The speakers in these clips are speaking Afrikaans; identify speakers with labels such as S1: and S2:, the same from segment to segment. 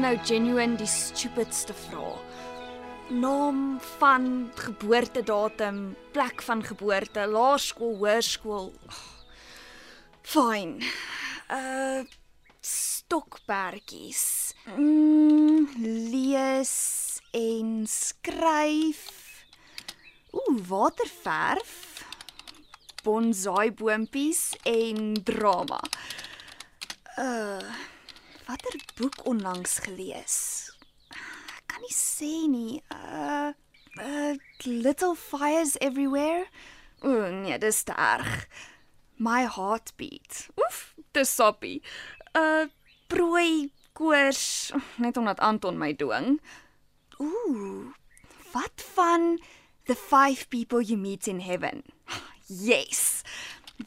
S1: nou genuine die stupidste vrae. Naam van geboortedatum, plek van geboorte, laerskool, hoërskool. Fyn. Uh stokperdjies. Mm, lees en skryf. Ooh, waterverf. Bonsai boontjies en drama. Uh watter boek onlangs gelees? Ek kan nie sê nie. Uh uh Little Fires Everywhere. O nee, dis te erg. My heartbeat. Oef, dis sappie. Uh prooi koors net omdat Anton my dwing. Ooh, wat van The Five People You Meet in Heaven? Yes.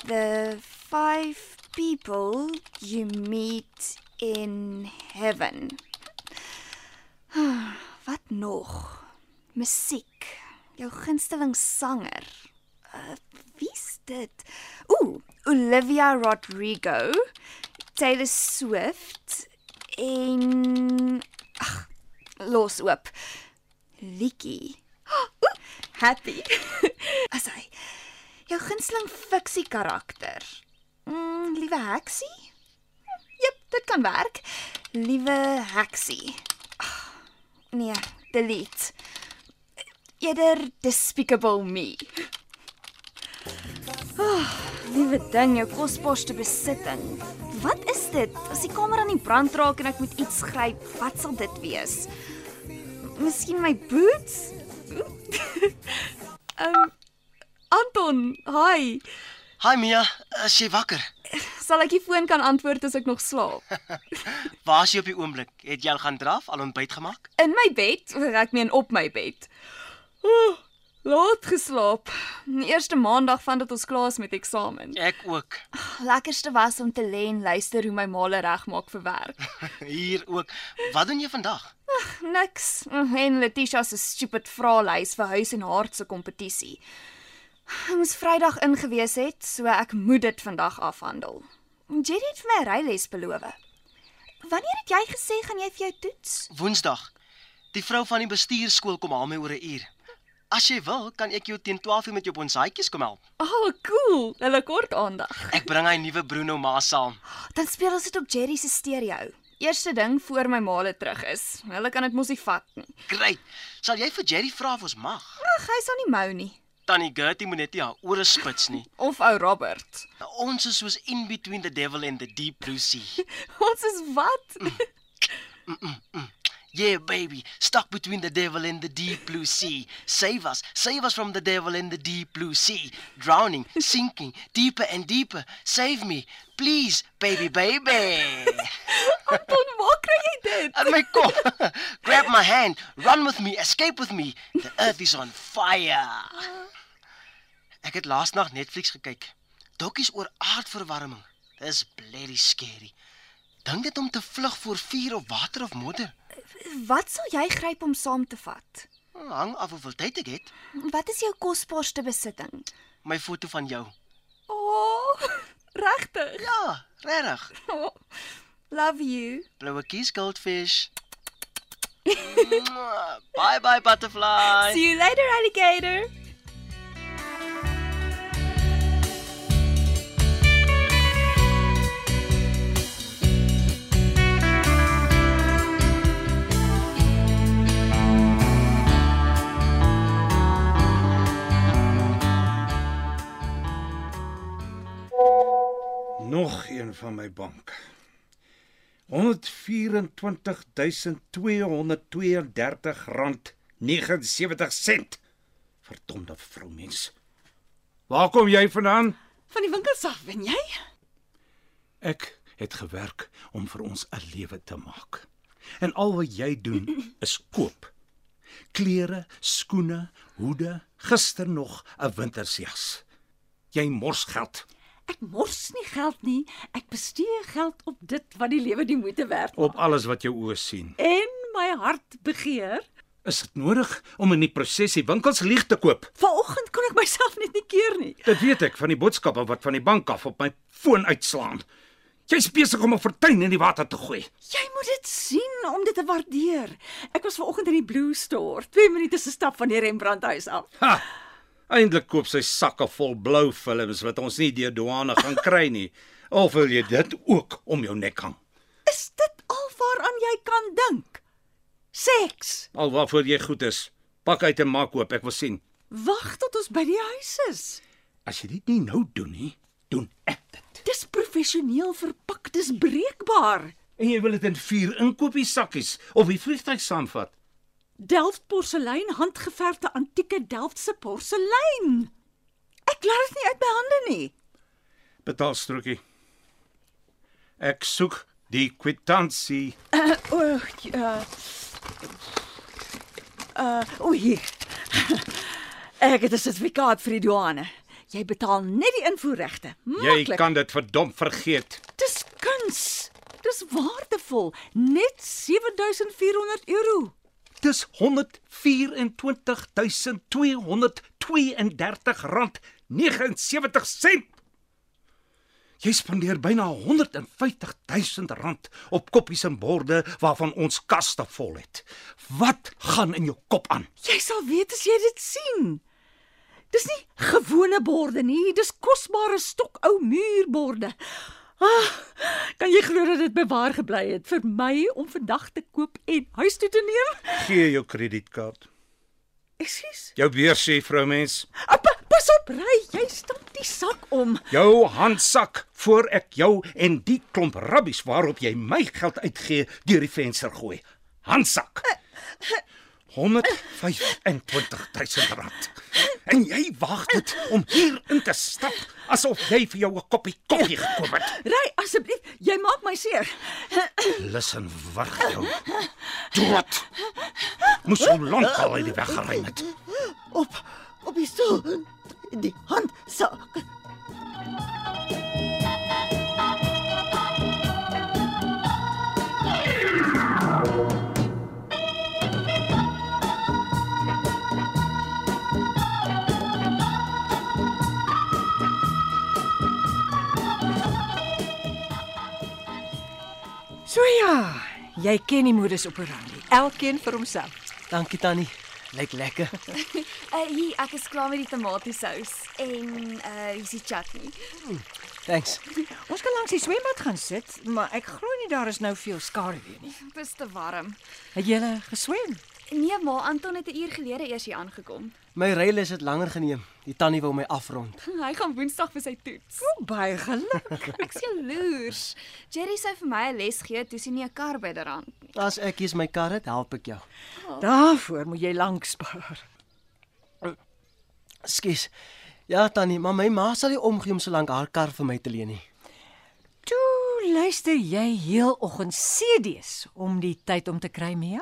S1: The five people you meet in heaven. Wat nog? Musiek. Jou gunsteling sanger. Uh, wie's dit? Ooh, Olivia Rodrigo, Taylor Swift en ag, los oop. Liedjie. Ooh, happy. As hy jou gunsteling fiksie karakter. Mm, liewe Heksie? Jep, dit kan werk. Liewe Heksie. Ag, Nee, delete. Eerder despicable me. Oh, liewe ding, jou kosbaarste besitting. Wat is dit? As die kamer aan die brand raak en ek moet iets gryp, wat sal dit wees? M- Miskien my boots? Ehm Anton, hi.
S2: Hi Mia, eh, is jy wakker?
S1: Sal ek die foon kan antwoord as ek nog slaap?
S2: Waar is jy op die oomblik? Het jy al gaan draf, al ontbyt gemaak?
S1: In my bed, ek meen op my bed. Ooh, laat geslaap. Die eerste maandag vandat ons klaar is met eksamen.
S2: Ek ook.
S1: Lekkerste was om te lê en luister hoe my maale regmaak vir werk.
S2: Hier ook. Wat doen jy vandag?
S1: Niks. Mm, En Letitia se stupid vraelys vir huis en hart se kompetisie. Ek moes Vrydag ingewees het, so ek moet dit vandag afhandel. Jerry het vir my 'n ryles beloof. Wanneer het jy gesê gaan jy vir jou toets?
S2: Woensdag. Die vrou van die bestuurskool kom haal my oor 'n uur. As jy wil, kan ek jou teen 12:00 met jou bonsaatjies kom help.
S1: Oh, cool. Hulle kort aandag.
S2: Ek bring hy nuwe Bruno ma saam.
S1: Ja, Dan speel ons dit op Jerry se stereo. Eerste ding voor my maale terug is. Hulle kan dit mos nie vat nie.
S2: Great. Sal jy vir Jerry vra of ons mag?
S1: Ag, hy sal nie mou nie.
S2: Tannie Gertie moet net nie haar ore spits nie.
S1: Of ou Robert.
S2: Ons is soos in between the devil and the deep blue sea.
S1: Ons is wat?
S2: Yeah, baby, stuck between the devil and the deep blue sea. Save us, save us from the devil and the deep blue sea. Drowning, sinking, deeper and deeper. Save me, please, baby, baby.
S1: Anton, waar kry jy dit?
S2: At my kop. Grab my hand, run with me, escape with me. The earth is on fire. Ek het laas nag Netflix gekyk. Dokkies oor aardverwarming. Dis bloody scary. Dink dit om te vlug voor vuur of water of modder.
S1: Wat sal jy gryp om saam te vat?
S2: Hang af hoeveel tyd ek het.
S1: Wat is jou kosbaarste besitting?
S2: My foto van jou.
S1: O, oh, regtig.
S2: Ja, regtig.
S1: Oh, love you.
S2: Bloue kies goldfish. Mwah. bye bye butterfly.
S1: See you later alligator.
S3: Nog een van my bank. 124232 rand 79 sent. Verdomde vroumens. Waar kom jy vandaan?
S4: Van die winkels af, wen jy?
S3: Ek het gewerk om vir ons 'n lewe te maak. En al wat jy doen is koop. Klere, skoene, hoede, gister nog 'n wintersjas. Jy mors geld.
S4: Ek mors nie geld nie. Ek bestee geld op dit wat die lewe die moeite werd
S3: op alles wat jou oë sien.
S4: en my hart begeer.
S3: Is dit nodig om in die prosesie winkels leeg te koop?
S4: Vanoggend kon ek myself net nie keer nie.
S3: Dit weet ek van die boodskappe wat van die bank af op my foon uitslaan. Jy's besig om 'n fortuin in die water te gooi.
S4: Jy moet dit sien om dit te waardeer. Ek was ver oggend in die Blue Store, 2 minute se stap van die Rembrandt huis af.
S3: Ha. Eindelik koop sy sakke vol blou films wat ons nie deur douane gaan kry nie. Of wil jy dit ook om jou nek hang?
S4: Is dit al waaraan jy kan dink? Seks.
S3: Al waarvoor jy goed is. Pak uit en maak oop, ek wil sien.
S4: Wag tot ons by die huis is.
S3: As jy dit nie nou doen nie, doen ek dit.
S4: Dis professioneel verpak, dis breekbaar.
S3: En jy wil dit in vier inkopies sakkies of die vliegtyg saamvat.
S4: Delft porselein, handgeverfde antieke Delftse porselein. Ek laat dit nie uit my hande nie.
S3: Betaal strokie. Ek soek die kwitansie.
S4: O, uh, uh, o hier. Ek het 'n sertifikaat vir die douane. Jy betaal net die invoerregte.
S3: Jy
S4: Maklik.
S3: kan dit verdomp vergeet.
S4: Dis kuns. Dis waardevol. Net 7400 euro.
S3: Dis 124232 rand 79 sent. Jy spandeer byna 150000 rand op koppies en borde waarvan ons kaste vol het. Wat gaan in jou kop aan?
S4: Jy sal weet as jy dit sien. Dis nie gewone borde nie, dis kosbare stokou muurborde. Ah, kan jy glo dat dit bewaar gebly het vir my om vandag te koop en huis toe te neem?
S3: Gee jou kredietkaart.
S4: Ekskuus.
S3: Jou beursie, vroumens.
S4: Appa, Ah, pas op, ry, jy stamp die sak om.
S3: Jou handsak voor ek jou en die klomp rabbies waarop jy my geld uitgee deur die venster gooi. Handsak. 125000 rand. En jy waag dit om hier in te stap asof jy vir jou 'n koppie koffie gekoop het.
S4: Ry asseblief, jy maak my seer.
S3: Lus en wag jou. Dood. Moes so lank al uit die weg geruim het.
S5: op op die stoel die hand sak
S6: So ja, jy ken die modus operandi. Elkeen vir homself.
S2: Dankie tannie. Lyk lekker.
S1: Uh, hier, ek is klaar met die tomatiesous en uh hier's die chutney.
S2: Thanks.
S6: Ons kan langs die swembad gaan sit, maar ek glo nie daar is nou veel skaduwee nie.
S1: Dit is te warm.
S6: Het jy geswem?
S1: Nee, maar Anton het 'n uur gelede eers hier aangekom.
S2: My reël is dit langer geneem. Die tannie wou my afrond.
S1: Hy gaan Woensdag vir sy toets.
S6: Baie geluk.
S1: Ek's jaloers. Jerry sou vir my 'n les gee, toe sien nie 'n kar by derand nie.
S2: As ek hier's my kar het, help ek jou.
S6: Daarvoor moet jy lank spaar.
S2: Skus. Ja tannie, maar my ma sal nie omgee om so lank haar kar vir my te leen nie.
S6: Toe luister jy heeloggend CD's om die tyd om te kry, Mia?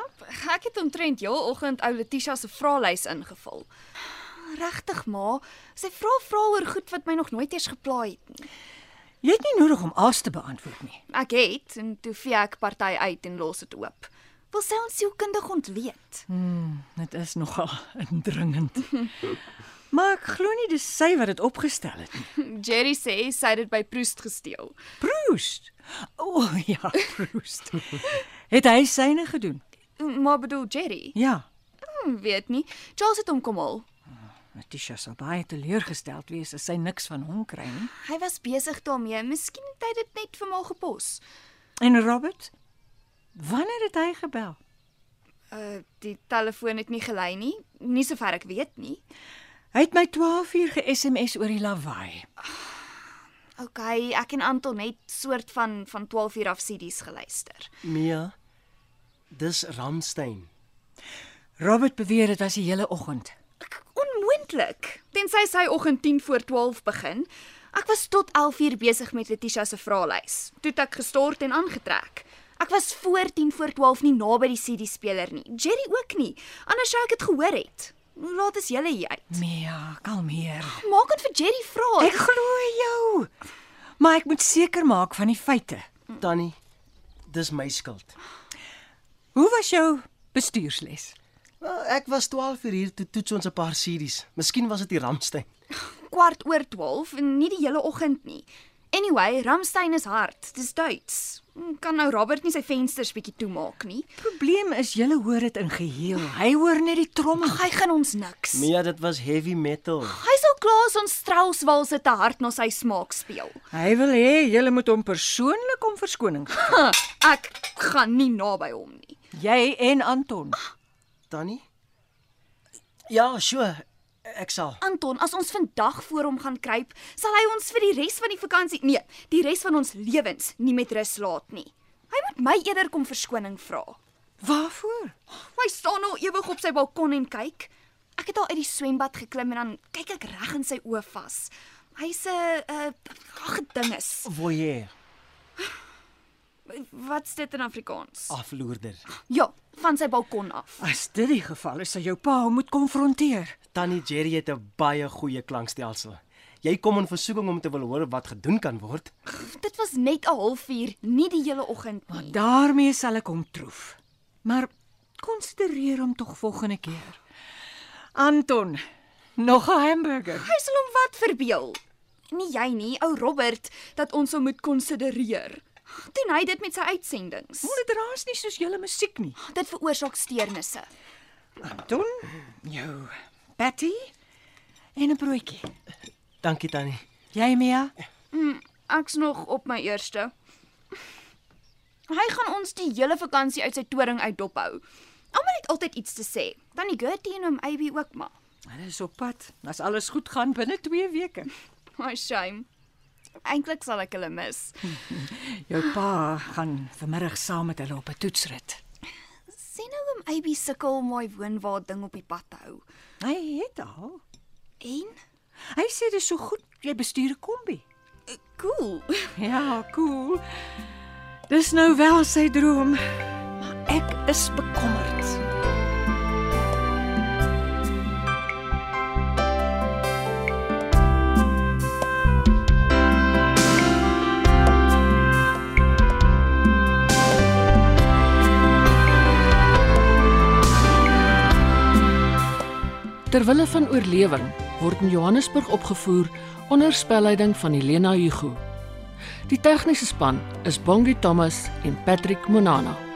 S1: Ek het omtrent heeloggend ou Letitia se vraelys ingevul. Regtig, ma, sy vra vra oor goed wat my nog nooit eers geplaai het nie.
S6: Jy het nie nodig om alles te beantwoord nie.
S1: Ek het en toe vee ek party uit en los dit oop. Wil sy ons sielkundig ontleed?
S6: Dit is nogal indringend. maar ek glo nie dis sy wat dit opgestel het nie.
S1: Jerry sê sy het dit by Proust gesteel.
S6: Proust. O oh, ja, Proust. het hy syne gedoen?
S1: Maar bedoel Jerry?
S6: Ja.
S1: Hm, weet nie. Charles het hom kom haal.
S6: Natisha sal baie teleurgesteld wees as sy niks van hom kry nie.
S1: Hy was besig daarmee. Miskien het hy dit net vir my gepos.
S6: En Robert? Wanneer het hy gebel?
S1: Uh die telefoon het nie gelei nie, nie sover ek weet nie.
S6: Hy het my 12 uur ge-SMS oor die lawaai.
S1: OK, ek en Anton het soort van van 12 uur af CD's geluister.
S2: Mia, dis Ramstein.
S6: Robert beweer dit was die hele oggend.
S1: Ek onmoontlik. Tensy sy oggend 10 voor 12 begin. Ek was tot 11 uur besig met Letitia se vraelys. Toe het ek gestort en aangetrek. Ek was voor 10 voor 12 nie naby die CD speler nie. Jerry ook nie. Anders sou ek dit gehoor het. Hoe laat is julle hier uit?
S6: Mia, kalmeer.
S1: Maak dit vir Jerry vra.
S6: Ek glo jou. Maar ek moet seker maak van die feite.
S2: Tannie, dis my skuld.
S6: Hoe was jou bestuursles?
S2: Wel, ek was 12 uur hier toe toets ons 'n paar series. Miskien was dit die Ramstein.
S1: kwart oor 12 en nie die hele oggend nie. Anyway, Ramstein is hard. Dis Duits. Kan nou Robert nie sy vensters bietjie toemaak nie.
S6: Probleem is jy hoor dit in geheel. Hy hoor net die tromme.
S1: Hy gaan ons niks.
S2: Mia, dit was heavy metal.
S1: Hy sal klaar ons Strauss-walse te hard na sy smaak speel.
S6: Hy wil hê jy moet hom persoonlik om verskoning gee.
S1: Ek gaan nie naby hom nie.
S6: Jy en Anton.
S2: Tannie? Ja, sure. Ek sal.
S1: Anton, as ons vandag voor hom gaan kruip, sal hy ons vir die res van die vakansie, nee, die res van ons lewens nie met rus laat nie. Hy moet my eerder kom verskoning vra.
S6: Waarvoor?
S1: Hy staan nou ewig op sy balkon en kyk. Ek het al uit die swembad geklim en dan kyk ek reg in sy oë vas. Hy's 'n 'n gedinges.
S2: Voyeur,
S1: Wat's dit in Afrikaans?
S2: afloerder.
S1: Ja, van sy balkon af.
S6: As dit die geval is, sal jou pa hom moet konfronteer.
S2: Tannie Jerry het 'n baie goeie klankstelsel. Jy kom in versoeking om te wil hoor wat gedoen kan word.
S1: Dit was net 'n halfuur, nie die hele oggend nie.
S6: Daarmee sal ek hom troef. Maar konsidereer hom tog volgende keer. Anton, nog 'n hamburger.
S1: Hy sal hom wat verbeel. Nie jy nie, ou Robert, dat ons hom moet konsidereer. Doen hy dit met sy uitsendings.
S6: Moet dit raas nie soos julle musiek nie.
S1: Dit veroorsaak steurnisse.
S6: Anton, jou patty en 'n broodjie.
S2: Dankie Tannie.
S6: Jy Mia?
S1: Ek's nog op my eerste. Hy gaan ons die hele vakansie uit sy toring uit dop hou. Almal het altyd iets te sê. Dan die Gertie en hom AB ook maar.
S6: Hulle is op pad. As alles goed gaan binne 2 weke.
S1: My shame. Eintlik sal ek hulle mis.
S6: Jou pa gaan vanmiddag saam met hulle op 'n toetsrit.
S1: Sien nou hom AB sukkel om my woonwaar ding op die pad te hou.
S6: Hy het al.
S1: En
S6: Hy sê dit is so goed jy bestuur 'n kombi.
S1: cool.
S6: Ja, cool. Dis nou wel sy droom, maar ek is bekommerd.
S7: Ter wille van oorlewing word in Johannesburg opgevoer onder spelleiding van Helena Hugo. Die tegniese span is Bongi Thomas en Patrick Monana.